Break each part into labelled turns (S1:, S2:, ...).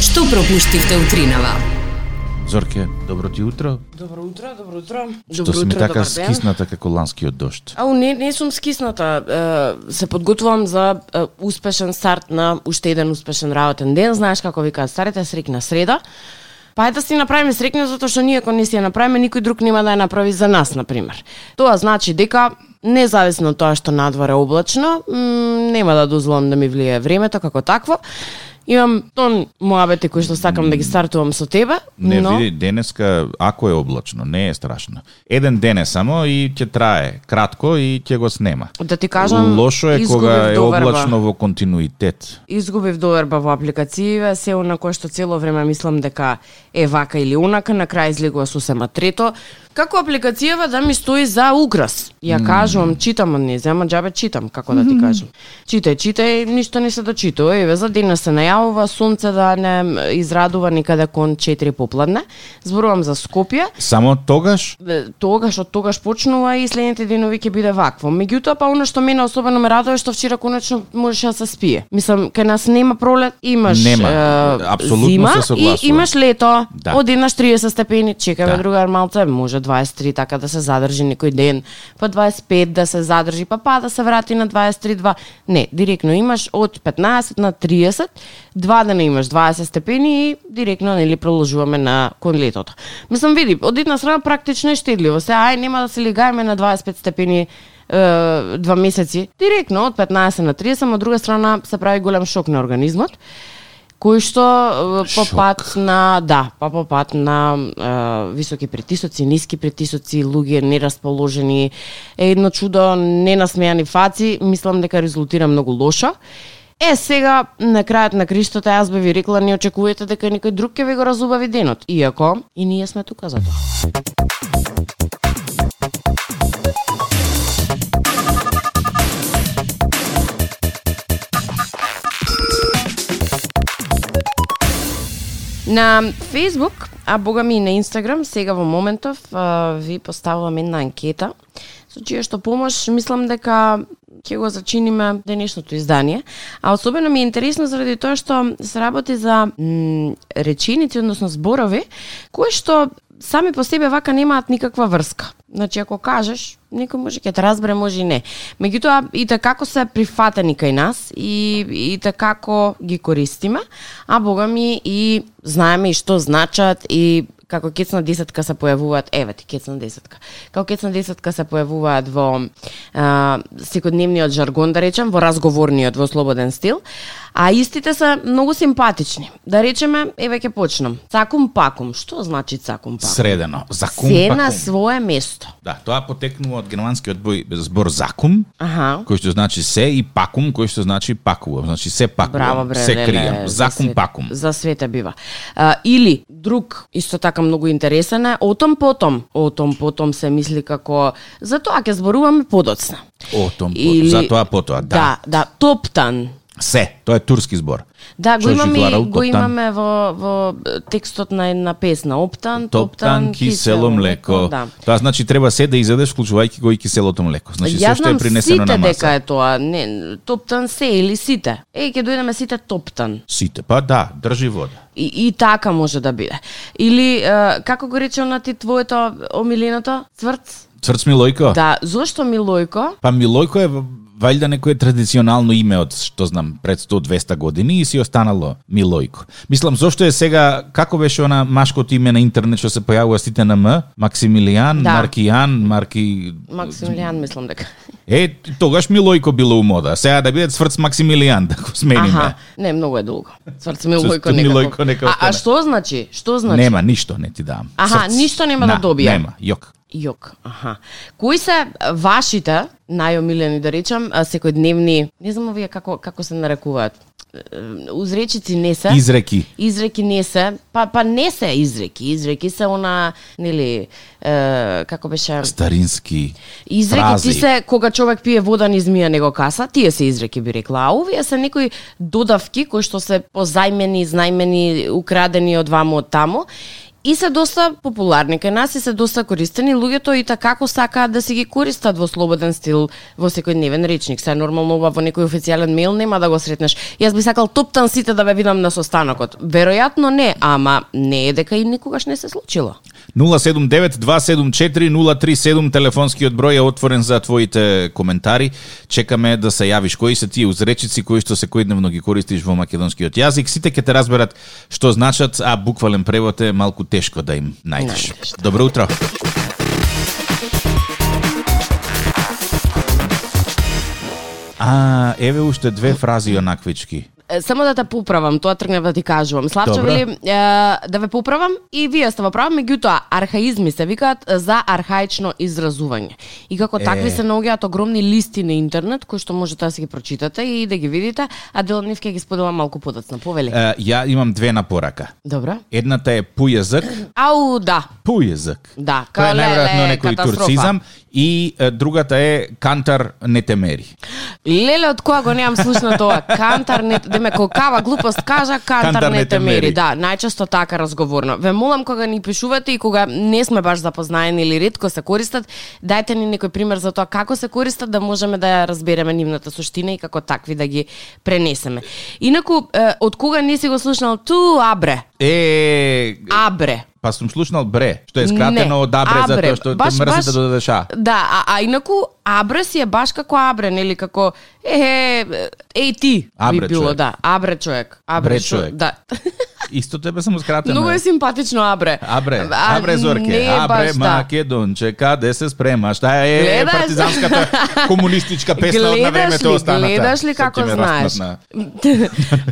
S1: што пропуштивте утринава.
S2: Зорке, добро ти утро.
S3: Добро утро, добро утро.
S2: Што сме така скисната како ланскиот дожд.
S3: Ау, не, не сум скисната. Е, се подготвувам за е, успешен старт на уште еден успешен работен ден. Знаеш како викаат старите, срекна среда. Па е да си направиме срекна затоа што ние кога не си ја направиме, никој друг нема да ја направи за нас, на пример. Тоа значи дека независно од тоа што надвор е облачно, м, нема да дозволам да ми влие времето како такво. Имам тон муабети кои што сакам да ги стартувам со тебе,
S2: Не
S3: но...
S2: види, денеска, ако е облачно, не е страшно. Еден ден е само и ќе трае кратко и ќе го снема.
S3: Да ти кажам,
S2: Лошо е
S3: изгубив
S2: кога е
S3: доверба.
S2: облачно во континуитет.
S3: изгубив доверба во апликациите, се она кое што цело време мислам дека е вака или онака, на крај излегува сосема трето. Како апликацијава да ми стои за украс? Ја кажувам, читам од низа, ама џабе читам, како да ти кажам. Читај, читај, ништо не се дочитува. Еве, за дена се најавува, сонце да не израдува никаде кон 4 попладне. Зборувам за Скопје
S2: Само тогаш
S3: е, тогаш од тогаш почнува и следните денови ќе биде вакво. Меѓутоа па она што мене особено ме радува е што вчера конечно можеше да се спие. Мислам кај нас нема пролет, имаш
S2: Нема.
S3: е,
S2: Апсолутно
S3: зима
S2: се согласувам.
S3: и имаш лето.
S2: Да.
S3: Одеднаш 30 степени, чека
S2: Да.
S3: да. другар малце, може 23 така да се задржи некој ден, па 25 да се задржи, па па да се врати на 23 2. Не, директно имаш од 15 на 30, два дена имаш 20 степени и директно нели проложуваме на кон летото. Мислам види, од една страна практично е штедливо. Се ај нема да се лигаеме на 25 степени е, два месеци. Директно од 15 на 30, ама од друга страна се прави голем шок на организмот кој што е, по
S2: Шок.
S3: пат Па на да, па по пат на е, високи притисоци, ниски притисоци, луѓе нерасположени, е едно чудо ненасмејани фаци, мислам дека резултира многу лошо. Е, сега, на крајот на криштата, јас би ви рекла, не очекувате дека некој друг ќе ви го разубави денот. Иако, и ние сме тука за тоа. На Facebook, а бога ми и на Instagram, сега во моментов а, ви поставувам една анкета со чија што помош мислам дека ќе го зачиниме денешното издание. А особено ми е интересно заради тоа што се работи за м, реченици, односно зборови, кои што сами по себе вака немаат никаква врска. Значи, ако кажеш, некој може ќе те разбере, може и не. Меѓутоа, и така како се прифатени кај нас и, и така како ги користиме, а бога ми и знаеме и што значат и како кецна десетка се појавуваат, еве ти кецна десетка. Како кецна десетка се појавуваат во а, секојдневниот жаргон, да речем, во разговорниот, во слободен стил, а истите се многу симпатични. Да речеме, еве ќе почнам. Цакум пакум, што значи цакум пакум?
S2: средено. Закум,
S3: Се
S2: пакум.
S3: на свое место.
S2: Да, тоа потекнува од германскиот бој збор закум,
S3: Аха.
S2: кој што значи се и пакум, кој што значи пакувам. Значи се
S3: Браво
S2: пакувам,
S3: бре,
S2: се
S3: леле,
S2: кријам.
S3: за
S2: Закум
S3: свет-
S2: пакум.
S3: За свете бива. А, или друг исто така многу интересен е отом потом. Отом потом се мисли како за тоа ќе зборуваме подоцна.
S2: О, том, за тоа потоа, да.
S3: Да, да, топтан.
S2: Се, тоа е турски збор.
S3: Да, го
S2: Што си
S3: имаме,
S2: гледал,
S3: и- го
S2: топтан?
S3: имаме во, во е, текстот на една песна. Оптан, топтан,
S2: Топтан, кисело млеко.
S3: Да.
S2: Тоа значи треба се да изедеш вклучувајќи го и киселото млеко. Значи се
S3: Ја
S2: што е
S3: Па знам
S2: принесено
S3: сите
S2: на маса.
S3: дека е тоа. Не, топтан се или сите. Еј, ќе дојдеме сите топтан.
S2: Сите, па да, држи вода.
S3: И, и така може да биде. Или, е, како го рече на ти твоето омиленото? Цврц?
S2: Црц Милојко?
S3: Да, зошто Милојко?
S2: Па Милојко е вајда некое традиционално име од што знам пред 100-200 години и си останало Милојко. Мислам зошто е сега како беше она машкото име на интернет што се појавува сите на М, Максимилијан,
S3: Да.
S2: Маркијан, Марки
S3: Максимилијан, мислам дека.
S2: Е, тогаш Милојко било у мода. Сега да биде цврц Максимилијан да го смениме.
S3: Аха, не, многу е долго. Цврц
S2: Цврц
S3: Милојко некако.
S2: Милојко нека
S3: а, а
S2: остане.
S3: што значи? Што значи?
S2: Нема ништо, не ти давам.
S3: Аха, ништо нема да добија.
S2: Нема, јок.
S3: Јок, аха. Кои се а, вашите најомилени да речам, а, секојдневни, не знам овие како како се нарекуваат. Е, е, Узречици не се.
S2: Изреки.
S3: Изреки не се, па па не се изреки, изреки се она, нели, е, како беше
S2: Старински.
S3: Изреки ти
S2: фрази.
S3: се кога човек пие вода низ мија него каса, тие се изреки би рекла, а овие се некои додавки кои што се позајмени, знајмени, украдени од ваму од таму и се доста популарни кај нас и се доста користени луѓето и така како сакаат да си ги користат во слободен стил во секојдневен речник. Се нормално ова во некој официјален мејл нема да го сретнеш. Јас би сакал топтан сите да ве видам на состанокот. Веројатно не, ама не е дека и никогаш не се случило.
S2: 079-274-037 телефонскиот број е отворен за твоите коментари. Чекаме да се јавиш кои се тие узречици кои што секојдневно ги користиш во македонскиот јазик. Сите ќе те разберат што значат, а буквален превод е малку тешко да им најдеш.
S3: Најдеш, да.
S2: Добро утро. А, еве уште две фрази онаквички.
S3: Е, Само да те поправам, тоа тргнав да ти кажувам. Славчо
S2: Добро.
S3: вели е, да ве поправам и вие сте во прав, меѓутоа архаизми се викаат за архаично изразување. И како
S2: Е.
S3: такви се наоѓаат огромни листи на интернет кои што можете да си ги прочитате и да ги видите, а дел од нив ќе ги споделам малку подоцна, повели.
S2: Е, ја имам две на порака.
S3: Добро.
S2: Едната е по јазик,
S3: Ау, да.
S2: по јазик.
S3: Да,
S2: Тоа е
S3: као, леле,
S2: најверојатно некој
S3: катастрофа.
S2: турцизам и е, другата е кантар не те мери.
S3: Леле, од која го немам слушно тоа. Кантар не... Деме, кокава глупост кажа, кантар, не те мери. Да, најчесто така разговорно. Ве молам кога ни пишувате и кога не сме баш запознаени или ретко се користат, дајте ни некој пример за тоа како се користат да можеме да ја разбереме нивната суштина и како такви да ги пренесеме. Инаку, е, од кога не си го слушнал ту абре?
S2: Е,
S3: Абре.
S2: па сум слушнал бре, што е скратено
S3: Не,
S2: од абре, затоа што
S3: баш,
S2: те мрзи
S3: баш-
S2: да додадеш а.
S3: Да, а, а инаку абре си е баш како абре, нели како е, е, еј ти
S2: Абре
S3: би било,
S2: човек.
S3: да. Абре човек. Абре
S2: Бре
S3: шо-
S2: човек.
S3: Да.
S2: Исто тебе само скратено.
S3: Многу е симпатично абре.
S2: Абре,
S3: А,
S2: абре
S3: не
S2: зорке,
S3: е
S2: абре
S3: баш, да.
S2: македонче, каде се спрема, шта е
S3: Гледаш?
S2: партизанската комунистичка песна од на
S3: Гледаш
S2: времето
S3: ли,
S2: останата.
S3: гледаш ли
S2: Што
S3: како
S2: ќе ме
S3: знаеш?
S2: распнат на-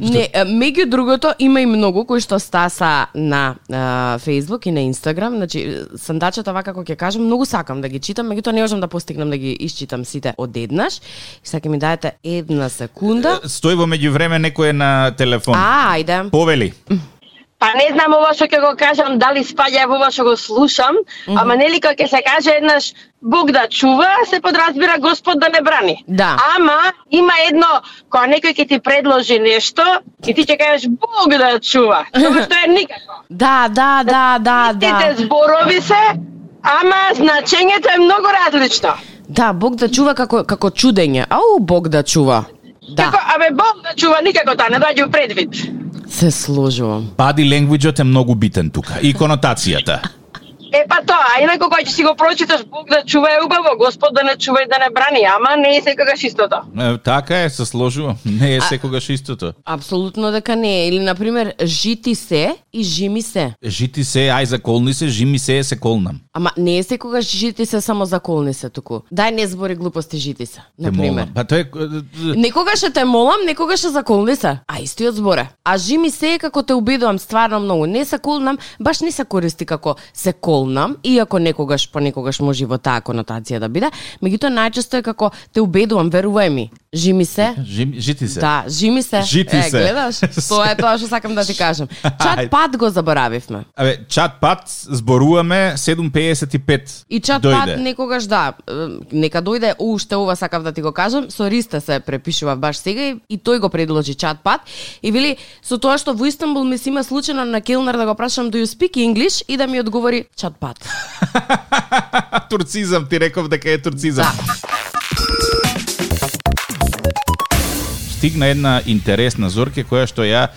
S3: не, е, меѓу другото има и многу кои што стаса на а, Facebook и на Instagram, значи сандачата вака како ќе кажам, многу сакам да ги читам, меѓутоа не можам да постигнам да ги исчитам сите одеднаш. И сега ќе ми дадете една секунда.
S2: Стои во меѓувреме некој е на телефон.
S3: А, ајде.
S2: Повели.
S1: Па не знам ова што ќе го кажам, дали спаѓа во ова што го слушам, ама нели кога ќе се каже еднаш Бог да чува, се подразбира Господ да не брани.
S3: Да.
S1: Ама има едно кога некој ќе ти предложи нешто и ти ќе кажеш Бог да чува, тоа што е никако.
S3: Да, да, да, да, да.
S1: Тите зборови се, ама значењето е многу различно.
S3: Да, Бог да чува како како чудење. Ау, Бог да чува. Да,
S1: Како, абе Бог да чува никако таа не доаѓа у предвид.
S3: се сложувам.
S2: Body language е многу битен тука и конотацијата.
S1: Е па тоа, а инаку кога ќе си го прочиташ Бог да чува е убаво, Господ да не чува и да не брани, ама не е секогаш истото.
S2: Е, Така е, се сложувам. Не е секогаш истото.
S3: Апсолутно дека не е. Или, например, жити се и жими се.
S2: Жити се, ај заколни се, жими се, се колнам.
S3: Ама не е секогаш жити се само заколни се туку. Дај не збори глупости жити се,
S2: Те
S3: на пример.
S2: молам. Па тоа е...
S3: Некогаш е те молам, некогаш е заколни се. А истиот зборе. А жими се е како те убедувам стварно многу. Не се колнам, баш не се користи како се колнам, иако некогаш понекогаш може и во таа конотација да биде, меѓутоа најчесто е како те убедувам, верувај ми. Жими се.
S2: Жим, жити се.
S3: Да, жими се.
S2: Жити
S3: е,
S2: се.
S3: гледаш? Тоа е тоа што сакам да ти кажам.
S2: Ај.
S3: Чат пат го заборавивме.
S2: Абе, чат пат зборуваме 7.55.
S3: И чат
S2: Дојде.
S3: пат некогаш да, е, нека дојде уште ова сакав да ти го кажам, со Риста се препишува баш сега и, и тој го предложи чат пат и вели со тоа што во Истанбул ми се има случајно на келнер да го прашам do you speak English и да ми одговори чат пат.
S2: турцизам, ти реков дека е турцизам. Стигна една интересна зорке која што ја е,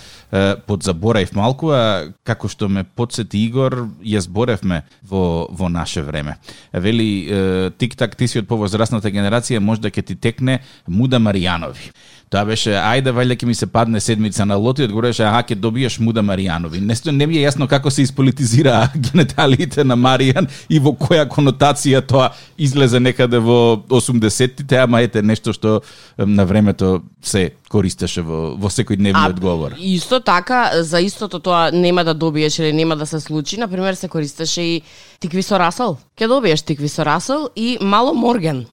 S2: подзабораев малку, а како што ме подсети Игор, ја зборевме во, во наше време. Вели, е, тик-так, ти си од повозрастната генерација, може да ќе ти текне Муда Маријанови. Тоа беше, ајде, валја ќе ми се падне седмица на лото и одговореше, аха, ќе добиеш Муда Маријанови. Не, сто- не ми е јасно како се исполитизира гениталиите на Маријан и во која конотација тоа излезе некаде во 80-тите, ама ете нешто што е, на времето се користеше во, во секојдневниот говор.
S3: Исто така, за истото тоа нема да добиеш или нема да се случи, на пример се користеше и тикви со расол. Ке добиеш тикви со расол и мало морген.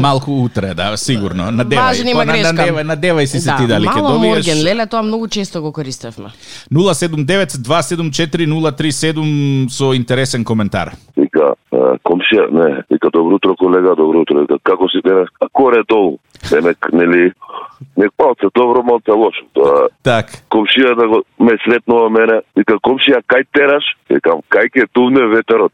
S2: Малку утре, да, сигурно. Надевај.
S3: Важен има
S2: Па, на-
S3: грешка. Да,
S2: Надевај, надевај си се ти дали ќе
S3: мало
S2: добиеш.
S3: морген, леле, тоа многу често го користевме.
S2: 079-274-037 со интересен коментар.
S4: Вика, «Е, комшија, не, вика, добро утро, колега, добро утро, вика, како си денес, а коре долу? Денек, нели, нек малце добро, малце лошо. Тоа
S2: Так.
S4: комшија да го ме сретнува мене, вика комшија кај тераш, викам кај ќе тувне ветерот.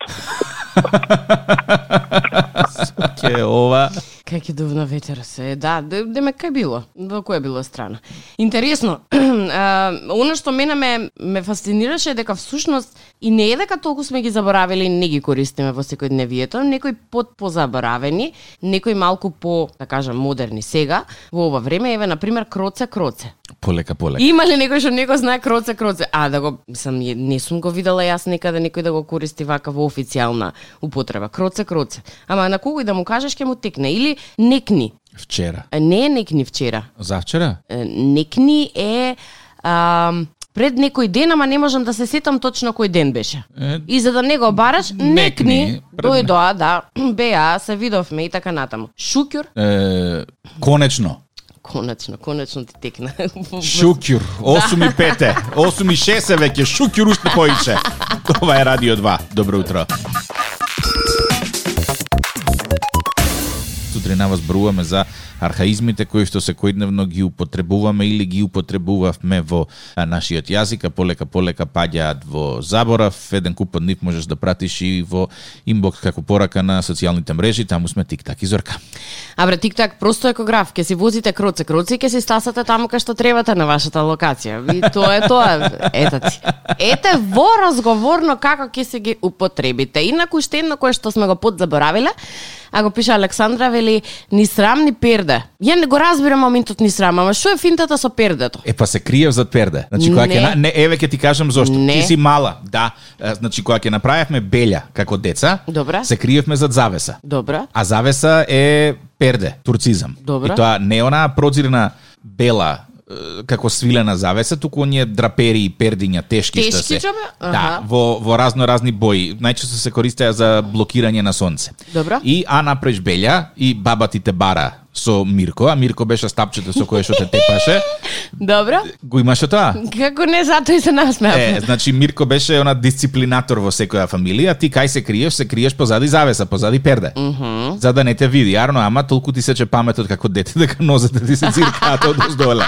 S2: Ке ова.
S3: Кај ќе дувна ветер се, да, де- деме кај било, во која било страна. Интересно, а, оно што мене ме, ме фасцинираше е дека всушност и не е дека толку сме ги заборавили и не ги користиме во секојдневието, некои под позаборавени, некои малку по, да кажам, модерни сега, во ова време, еве, например, кроце, кроце.
S2: Полека, полека.
S3: Има ли некој што не го знае кроце кроце? А да го сам не сум го видела јас некаде некој да го користи вака во официјална употреба. Кроце кроце. Ама на кого и да му кажеш ќе му текне или некни.
S2: Вчера.
S3: Е, Не е некни вчера.
S2: Завчера?
S3: Е, Некни е а, пред некој ден, ама не можам да се сетам точно кој ден беше.
S2: Е,
S3: И за да не го бараш, некни,
S2: некни, пред-
S3: дојдоа, да, беа, се видовме и така натаму. Шукјур,
S2: Е, конечно.
S3: конечно, конечно ти текна.
S2: Шукјур, 8 и 5, 8 и 6 е веќе, Шукјур уште поише. Ова е Радио 2, добро утро. Сутринава зборуваме за архаизмите кои што секојдневно ги употребуваме или ги употребувавме во а, нашиот јазик, а полека полека паѓаат во заборав. Еден куп од нив можеш да пратиш и во инбокс како порака на социјалните мрежи, таму сме тик-так и зорка.
S3: А бре, тик-так, просто екограф, ке си возите кроце, кроце и ке си стасате таму кај што требате на вашата локација. И тоа е тоа. Ете ти. Ете во разговорно како ќе се ги употребите. Инаку уште едно кое што сме го подзаборавиле, а го пише Александра, вели, ни срамни перде. Ја не го разбирам моментот ни срам, ама што е финтата со пердето?
S2: Е, па се криев зад перде. Значи, која
S3: Не.
S2: ќе... на- Не, еве ќе ти кажам зошто.
S3: Не.
S2: Ти си мала, да. Е, Значи, која ќе направевме белја како деца,
S3: Добра.
S2: се криевме зад завеса.
S3: Добра.
S2: А завеса е перде, турцизам.
S3: Добра.
S2: И тоа не е онаа прозирна бела е, како свилена завеса, туку оние драпери и пердиња тешки, што
S3: Тешки,
S2: се.
S3: џабе?
S2: Да,
S3: Аха.
S2: во во разно разни бои. Најчесто се користеа за блокирање на сонце.
S3: Добра.
S2: И а направиш белја и баба ти те бара со Мирко, а Мирко беше стапчето со кое што те тепаше.
S3: Добра.
S2: Го имаше тоа?
S3: Како не, затоа и се
S2: Е,
S3: насмеав.
S2: значи Мирко беше она дисциплинатор во секоја фамилија, ти кај се криеш, се криеш позади завеса, позади перде. Mm-hmm. За да не те види. Арно, ама толку ти сече паметот како дете дека нозете ти се циркаат од оздола.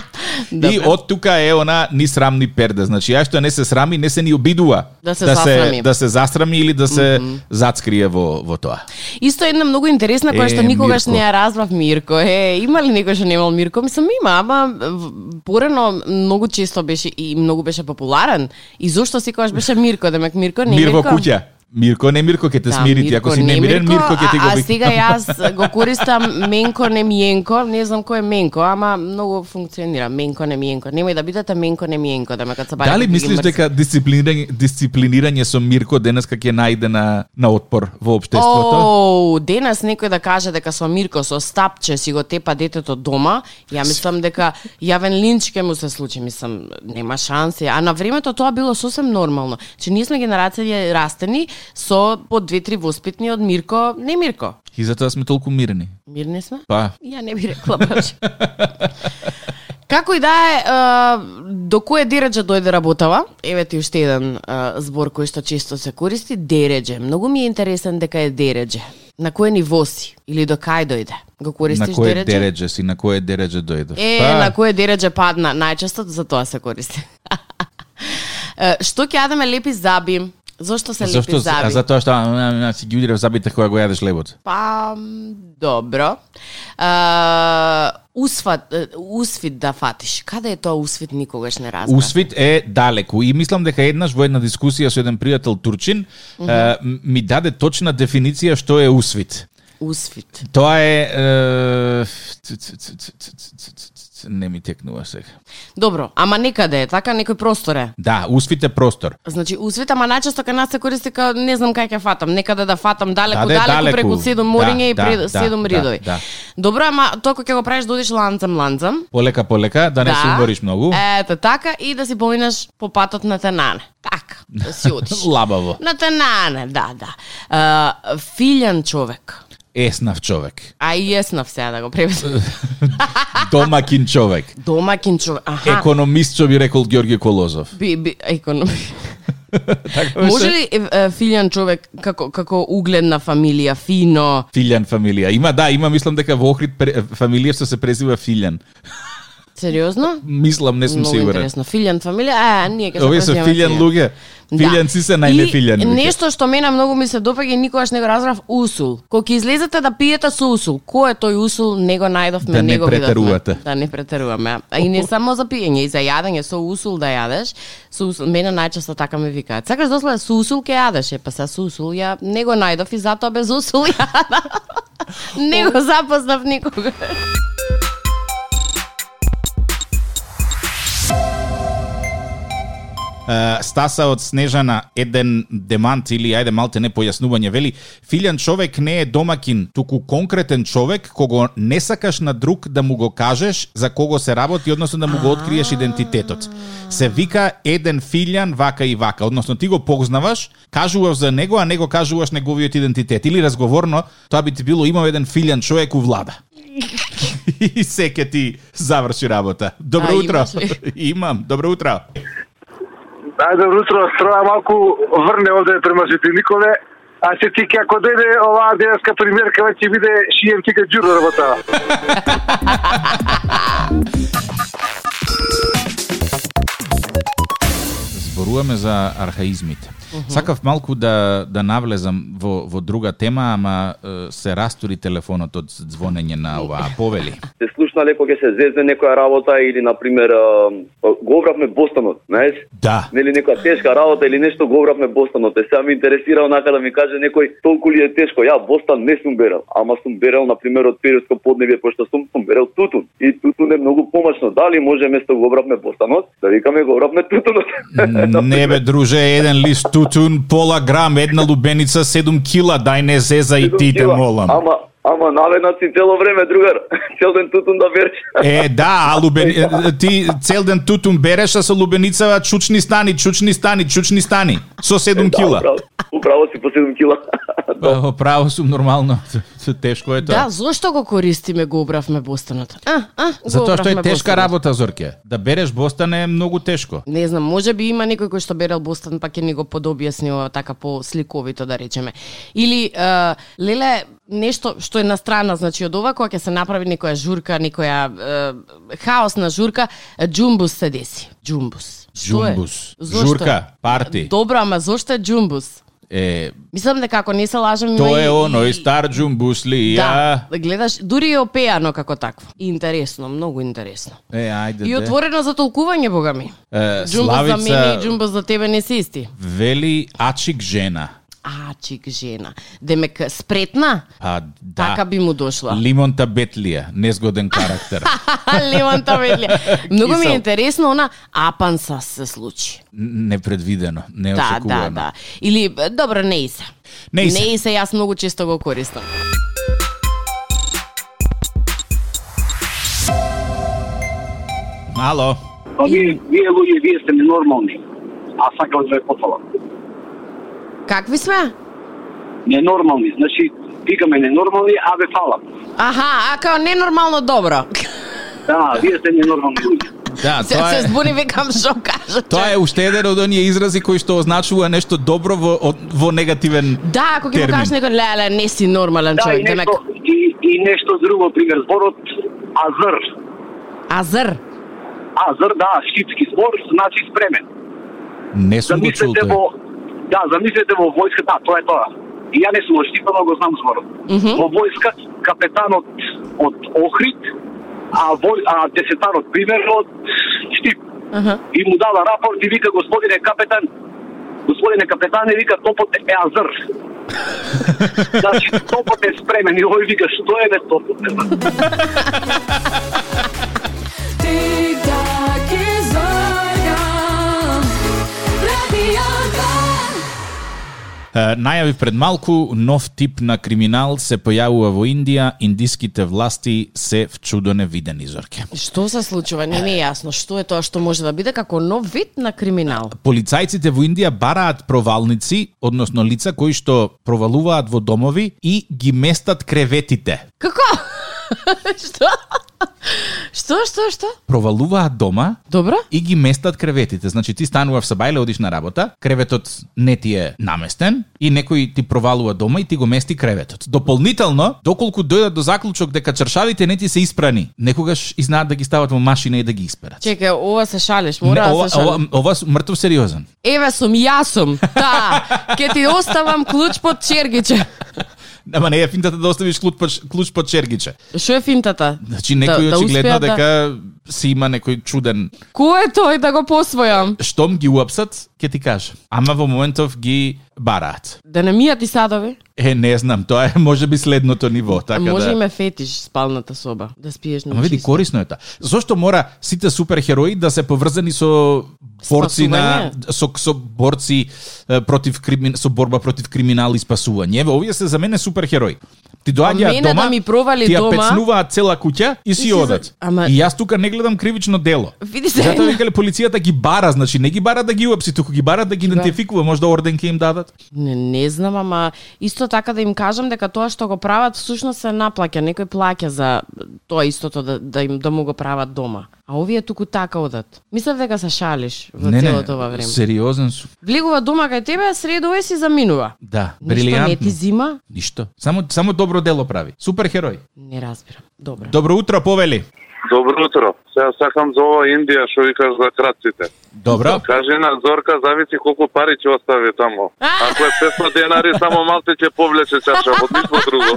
S2: И од тука е она ни срамни перде. Значи ја што не се срами, не се ни обидува
S3: Да се
S2: да се
S3: засрами.
S2: да се засрами или да се mm-hmm. зацкрие во во тоа.
S3: Исто една многу интересна која
S2: Е,
S3: што никогаш
S2: Мирко.
S3: не ја разбрав Мирко. Е, има ли некој што немал Мирко? Мислам има, ама в- порано многу често беше и многу беше популарен. И зошто секогаш беше Мирко, демек Мирко не
S2: Мир во
S3: Мирко.
S2: куќа. Мирко не Мирко ќе те
S3: Да,
S2: смири ти ако си
S3: не
S2: немирен, Мирко ќе ти го
S3: а, а
S2: вика.
S3: сега јас го користам Менко не Миенко, не знам кој е Менко, ама многу функционира Менко не Миенко. Немој да бидете Менко не Миенко, да ме кај се барем
S2: Дали
S3: да ги
S2: мислиш
S3: мрсам.
S2: дека дисциплинирање, дисциплинирање со Мирко денеска ќе најде на, на отпор во општеството?
S3: Оу, денес некој да каже дека со Мирко со стапче си го тепа детето дома, ја мислам дека јавен линч ќе му се случи, мислам, нема шанси. А на времето тоа било сосем нормално. Че ние сме генерација растени со по две-три воспитни од Мирко, не Мирко.
S2: И затоа сме толку мирни.
S3: Мирни сме?
S2: Па,
S3: Ја не би рекла баш. Како и да е, е, до кое дереđе дојде работава? Еве ти уште еден е, збор кој што често се користи, дереđе. Многу ми е интересен дека е дереđе. На кое ниво си или до кај дојде? Го
S2: на
S3: користиш
S2: кое
S3: дереđе?
S2: дередже си, на кое дередже дојдов?
S3: Е,
S2: па,
S3: на кое дереđе падна, најчесто за тоа се користи. Е, што ќе јадеме лепи заби? Зошто се лепи
S2: Зошто,
S3: заби?
S2: а затоа што а, а, а, си ги удирав забите кога го јадеш лебот.
S3: Па, м, добро. А, усфат, е, усвит да фатиш. Каде е тоа усвит никогаш не разбрав.
S2: Усвит е далеку и мислам дека еднаш во една дискусија со еден пријател турчин mm -hmm. ми даде точна дефиниција што е усвит.
S3: Усвит.
S2: Тоа е... е, ц- ц- ц- ц- ц- ц- ц- ц- ц- Не ми текнува сега.
S3: Добро, ама некаде е, така некој простор е.
S2: Да, усвит е простор.
S3: Значи, усвит, ама најчесто кај нас се користи као не знам кај ќе фатам, некаде да фатам далеко,
S2: Даде
S3: далеко,
S2: далеку.
S3: преку седум
S2: Да,
S3: мориња и
S2: да,
S3: пред
S2: да,
S3: седум
S2: да,
S3: ридови.
S2: да.
S3: Добро, ама тоа кога ќе го правиш да одиш ланцам, ланцам.
S2: Полека, полека, да не се умориш многу.
S3: Ето така и да си поминеш по патот на Танане. Така, да си одиш.
S2: Лабаво.
S3: На Танане, да, да. А, филјан човек.
S2: Еснав човек.
S3: А и јеснав сега да го преведам.
S2: Домакин човек.
S3: Домакин човек. Аха.
S2: Економист, што би рекол Георги Колозов.
S3: Би, би, економ...
S2: Така беше.
S3: Може ли е, е, Филјан човек како како угледна фамилија, фино?
S2: Филјан фамилија. Има, да, има, мислам дека во Охрид пре- фамилија што се презива Филјан.
S3: Сериозно?
S2: Мислам, не сум
S3: Многу
S2: сигурен.
S3: интересно. Филјан фамилија, а, ние ќе се
S2: Овие се
S3: прозиваме
S2: Филјан луѓе. Филјан си се најне
S3: Да. И
S2: Филјан. вика.
S3: Нешто што мене многу ми се допаѓа и никогаш не го разбрав усул. Кога ќе излезете да пиете со усул, кој е тој усул, не го најдовме,
S2: Да не
S3: не го видовме.
S2: претерувате.
S3: Да не претеруваме. А и не само за пиење, и за јадење со усул да јадеш. Со усул, мене најчесто така ми викаат. Сакаш досле со усул ќе јадеш, е па са со усул ја не го најдов и затоа без усул јадам. не го запознав никога.
S2: Е, Стаса од Снежана, еден демант или ајде малте не појаснување, вели Филјан човек не е домакин, туку конкретен човек кого не сакаш на друг да му го кажеш за кого се работи, односно да му го откриеш идентитетот. Се вика еден филјан вака и вака, односно ти го познаваш, кажуваш за него, а него кажуваш неговиот идентитет. Или разговорно, тоа би ти било имал еден филјан човек у влада. и секе ти заврши работа. Добро
S3: А,
S2: утро.
S3: имаш ли?
S2: Имам. Добро утро.
S5: Ајде, утро, строја малку врне овде при мажите Николе. А се ти ке, ако дојде оваа денеска примерка, веќе биде шием ти ке джуро работа.
S2: зборуваме за архаизмите. Сакав малку да да навлезам во во друга тема, ама е, се растури телефонот од звонење на оваа повели.
S6: се слушнале кога ќе се зезне некоја работа или на пример го обравме Бостанот, знаеш?
S2: Да.
S6: Нели некоја тешка работа или нешто го обравме Бостанот. Е сега ми интересира онака да ми каже некој толку ли е тешко. Ја Бостан не сум берал, ама сум берал на пример од Периодско поднебје пошто сум сум берал тутун. И тутун е многу помачно. Дали може место го обравме Бостанот, да викаме го обравме тутунот.
S2: Не бе, друже, еден лист тутун, пола грам, една лубеница, 7 кила, дај не зеза и ти те молам.
S6: Ама ама налегнат си цело време другар. Цел ден тутун да береш.
S2: Е, да, а лубен... е, е, ти цел ден тутун береш, а со лубеницава чучни стани, чучни стани, чучни стани, со 7 кила.
S6: Управо, управо си по 7 кила.
S2: Па, Право сум нормално, тешко е тоа.
S3: Да, зошто го користиме го обравме бостанот? А, а, го
S2: Затоа што е
S3: обравме
S2: тешка
S3: Бостанот.
S2: работа, Зорке. Да береш бостане е многу тешко.
S3: Не знам, може би има некој кој што берел Бостон, па ќе ни го подобјаснива така по сликовито да речеме. Или е, леле нешто што е на страна, значи од ова кога ќе се направи некоја журка, некоја е, хаосна журка, е, џумбус се деси. Џумбус. Што е?
S2: Џумбус.
S3: Зошто?
S2: Журка, парти.
S3: Добро, ама зошто е џумбус?
S2: Е,
S3: Мислам дека ако не се лажам има
S2: тоа
S3: и-
S2: е оној
S3: и-
S2: стар джумбусли.
S3: Да,
S2: Да.
S3: гледаш, дури е опејано како такво. Интересно, многу интересно.
S2: Е, ајде.
S3: И
S2: де.
S3: отворено за толкување, бога ми.
S2: Е,
S3: Джумбус за мене и
S2: Славица
S3: джумбус за тебе не се исти.
S2: вели ачик жена.
S3: А, чик жена. Демек, спретна?
S2: Па да.
S3: Така би му дошла.
S2: Лимонта Бетлија, незгоден карактер.
S3: Леванта Велија. Многу ми
S2: Кисел.
S3: е интересно, она апанса се случи.
S2: Н- Непредвидено,
S3: Да, да,
S2: неочекувано.
S3: да. Или, б, добро, не и се.
S2: Не и се.
S3: Не и се, јас многу често го користам.
S2: Ало.
S7: Па вие, вие луѓе, вие сте ненормални. А сакам да ве потфалам.
S3: Какви сме?
S7: Ненормални, значи, викаме ненормални, а ве фалам.
S3: Аха, а као ненормално добро.
S7: Да, вие сте ненормални луѓе.
S2: Да,
S3: Се,
S2: тоа
S3: се
S2: е
S3: збуни, викам, што кажа.
S2: Тоа е уште еден од оние изрази кои што означува нешто добро во од- во негативен
S3: Да, ако ќе му
S2: термин.
S3: кажеш некој, леле, не си нормален
S7: Да, и
S3: човек, демек.
S7: нешто, и, и нешто друго, пример, зборот Азр.
S3: Азр.
S7: Азр, да, шкипски збор, значи спремен.
S2: Не сум го чул
S7: Замислете
S2: тој.
S7: во... Да, замислете во војска, да, тоа е тоа. И ја не сум од Штипа, но го знам зборот. Во војска, капетанот од Охрид, а, вој, а десетарот, пример, од Штип.
S3: Аха.
S7: и му дава рапорт и вика господине капетан господине капетане вика топот е азр значи топот е спремен и овој вика што е бе топот е
S8: Тик-так и зорка, радио Бар.
S2: Е, Најави пред малку, нов тип на криминал се појавува во Индија, индиските власти се в чудо невидени зорке.
S3: Што се случува? Не ми е јасно. Што е тоа што може да биде како нов вид на криминал?
S2: Полицајците во Индија бараат провалници, односно лица кои што провалуваат во домови и ги местат креветите.
S3: Како? Што? Што, што, што?
S2: Провалуваат дома
S3: Добро?
S2: и ги местат креветите. Значи ти станував со бајле, одиш на работа, креветот не ти е наместен и некој ти провалува дома и ти го мести креветот. Дополнително, доколку дојдат до заклучок дека чаршавите не ти се испрани, некогаш и знаат да ги стават во машина и да ги исперат.
S3: Чекај, ова се шалиш, мора
S2: не,
S3: да
S2: ова,
S3: се шалиш.
S2: ова, ова, с- мртов сериозен.
S3: Еве сум, јас сум. Та, ке ти оставам клуч под чергиче.
S2: Ама не е финтата да оставиш клуч, под- клуч под чергиче.
S3: Што е финтата? Да,
S2: Значи некој очигледно
S3: успеат
S2: дека си има некој чуден
S3: Кој е тој да го посвојам?
S2: штом ги уапсат, ќе ти кажам. Ама во моментов ги бараат.
S3: Да не мијат и садови?
S2: Е, не знам, тоа е може би следното ниво, така
S3: Може
S2: да.
S3: да. име фетиш спалната соба, да спиеш на
S2: Ама види,
S3: чисто.
S2: корисно е тоа. Зошто мора сите суперхерои да се поврзани со борци на со, со борци е, против кримин, со борба против криминал и спасување. Еве, овие се за мене суперхерои. Ти доаѓаат
S3: мене
S2: дома,
S3: да ми провали
S2: ти ја
S3: дома?
S2: пецнуваат цела куќа и си
S3: си за-
S2: одат.
S3: Ама-
S2: И јас тука не гледам кривично дело.
S3: Види се.
S2: Затоа викале полицијата ги бара, значи не ги бара да ги уапси, туку ги бара да ги идентификува, може да орден ќе им дадат.
S3: Не, не знам, ама исто така да им кажам дека тоа што го прават всушност се наплаќа, некој плаќа за тоа истото да, да им да му го прават дома. А овие туку така одат. Мислев дека се шалиш во
S2: не, не,
S3: целото ова време.
S2: сериозен сум.
S3: Влегува дома кај тебе, средува и си заминува.
S2: Да,
S3: Ништо не ти
S2: брилијантно.
S3: зима?
S2: Ништо. Само само добро дело прави. Суперхерој.
S3: Не разбирам. Добро.
S2: Добро утро, повели.
S5: Добро утро. Сега сакам за ова Индија што викаш за крадците.
S2: Добро.
S5: Кажи на Зорка, зависи колку пари ќе остави таму. Ако е 500 денари, само малце ќе повлече чашавот, ништо друго.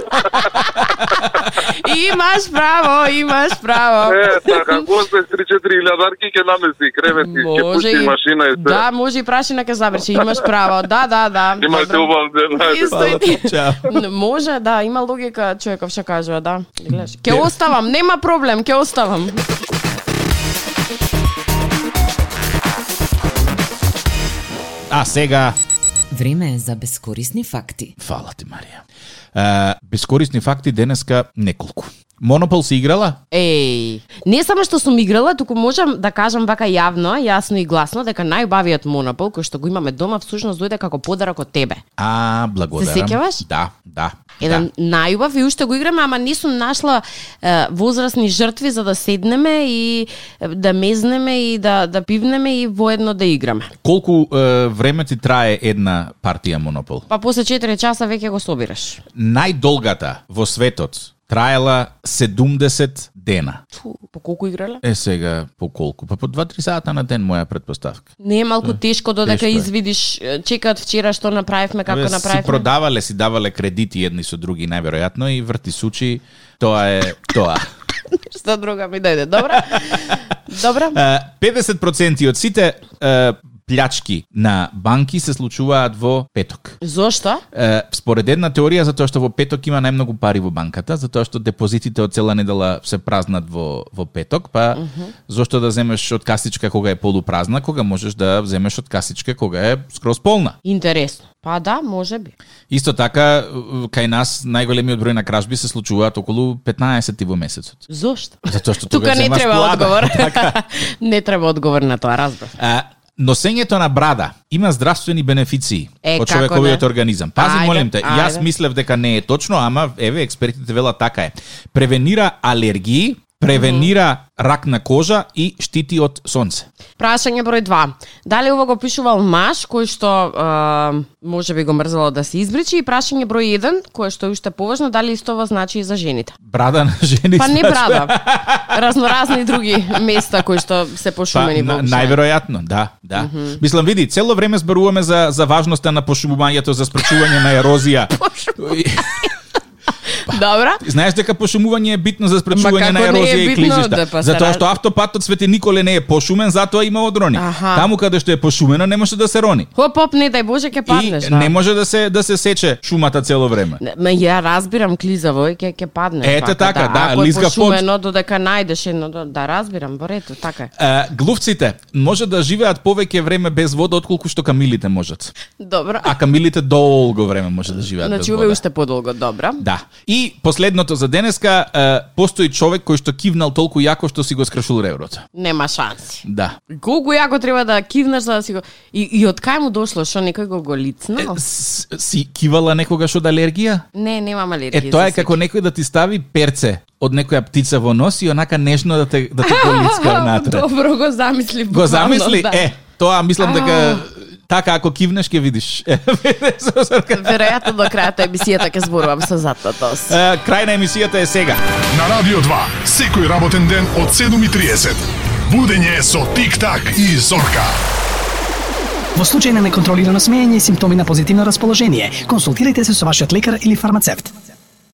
S3: Имаш право, имаш право.
S5: Е, така, после 3-4 илјадарки ќе намеси кревети, ќе
S3: Може
S5: пушти
S3: и...
S5: машина и се.
S3: Да, може и прашина ке забрче, имаш право. Да, да, да.
S5: Имате
S3: Добро.
S5: убав ден, ајде.
S3: Исто и ти.
S2: Чао.
S3: Н- Може, да, има логика човеков што кажува, да. Гледаш. Ке оставам, нема проблем, ке оставам.
S2: А сега
S9: Време е за безкорисни факти.
S2: Фала ти, Марија. А, бескорисни факти денеска неколку. Монопол си играла?
S3: Еј, не само што сум играла, туку можам да кажам вака јавно, јасно и гласно дека најубавиот монопол кој што го имаме дома всушност дојде како подарок од тебе.
S2: А, благодарам.
S3: Се сеќаваш?
S2: Да, да.
S3: Еден да. најубав и уште го играме, ама не сум нашла е, возрастни жртви за да седнеме и е, да мезнеме и да да пивнеме и воедно да играме.
S2: Да. Колку е, време ти трае една партија Монопол?
S3: Па после 4 часа веќе го собираш.
S2: Најдолгата во светот траела 70 дена.
S3: Ту, по колку играле?
S2: Е сега по колку? Па по 2-3 сата на ден моја предпоставка.
S3: Не е малку тешко додека
S2: Тешко е.
S3: извидиш е, чекаат вчера што направивме, како
S2: Абе,
S3: направивме.
S2: Си продавале, си давале кредити едни со други најверојатно и врти сучи. Тоа е тоа.
S3: Што друга ми дојде, добра? добра?
S2: Е, 50% од сите е, плячки на банки се случуваат во петок.
S3: Зошто?
S2: Е, според една теорија, затоа што во петок има најмногу пари во банката, затоа што депозитите од цела недела се празнат во, во петок, па зошто да земеш од касичка кога е полупразна, кога можеш да земеш од касичка кога е скроз полна.
S3: Интересно. Па да, може би.
S2: Исто така, кај нас најголемиот број на кражби се случуваат околу 15 во месецот.
S3: Зошто?
S2: Затоа што
S3: Тука
S2: тогаш
S3: не
S2: земаш
S3: треба
S2: плата.
S3: одговор.
S2: Така.
S3: не треба одговор на тоа, разбрав.
S2: А, носењето на брада има здравствени бенефиции
S3: Е,
S2: од
S3: како
S2: човековиот
S3: не?
S2: организам. Пази,
S3: Ајде,
S2: молим те, јас
S3: ајде.
S2: мислев дека не е точно, ама еве експертите велат така е. Превенира алергии, превенира рак на кожа и штити од сонце.
S3: Прашање број 2. Дали ова го пишувал маж кој што е, може би го мрзало да се избричи и прашање број 1 кое што е уште поважно, дали исто ова значи и за жените?
S2: Брада на жени.
S3: Па не
S2: значи-
S3: брада. Разноразни други места кои што се
S2: Па,
S3: пошумени
S2: на,
S3: во обичај.
S2: најверојатно, да, да. Мислам, види, цело време зборуваме за, за важноста на пошумувањето, за спречување на ерозија.
S3: Добра?
S2: Знаеш дека пошумување е битно за
S3: Ма
S2: спречување
S3: како
S2: на ерозија
S3: не е
S2: и
S3: битно,
S2: клизишта.
S3: да, па се
S2: затоа
S3: раз-
S2: што автопатот Свети Николе не е пошумен, затоа има одрони.
S3: Аха.
S2: Таму каде што е пошумено не може да се рони.
S3: Хоп, хоп, не дај Боже, ќе паднеш,
S2: и
S3: да.
S2: не може да се да се сече шумата цело време.
S3: Не, Ме ја разбирам клизаво и ќе ќе паднеш.
S2: Ете
S3: вака,
S2: така, да,
S3: Ако
S2: лизга
S3: е
S2: под.
S3: пошумено додека најдеш едно, да, да разбирам, во ред, така е.
S2: А, глувците може да живеат повеќе време без вода отколку што камилите можат.
S3: Добро.
S2: А камилите долго време може да живеат
S3: Значи
S2: без
S3: ова е
S2: вода.
S3: уште подолго, добра.
S2: Да. И И последното за денеска, е, постои човек кој што кивнал толку јако што си го скршил реброто.
S3: Нема шанси.
S2: Да.
S3: Колку јако треба да кивнеш за да си го... И, и од кај му дошло? Шо некој го го лицнал?
S2: С, си кивала некогаш од алергија?
S3: Не, немам алергија.
S2: Е, тоа е
S3: за
S2: како некој да ти стави перце од некоја птица во нос и онака нежно да те, да те колицка внатре.
S3: Добро го замисли.
S2: Го
S3: буквално,
S2: замисли,
S3: да.
S2: е, тоа мислам дека така ако кивнеш ќе видиш. Е,
S3: Веројатно до крајот на емисијата ќе зборувам со затоа тос.
S2: Крај на емисијата е сега.
S10: На Радио 2, секој работен ден од 7.30. Будење со Тик-так и Зорка.
S11: Во случај на неконтролирано смеење и симптоми на позитивно расположение, консултирайте се со вашиот лекар или фармацевт.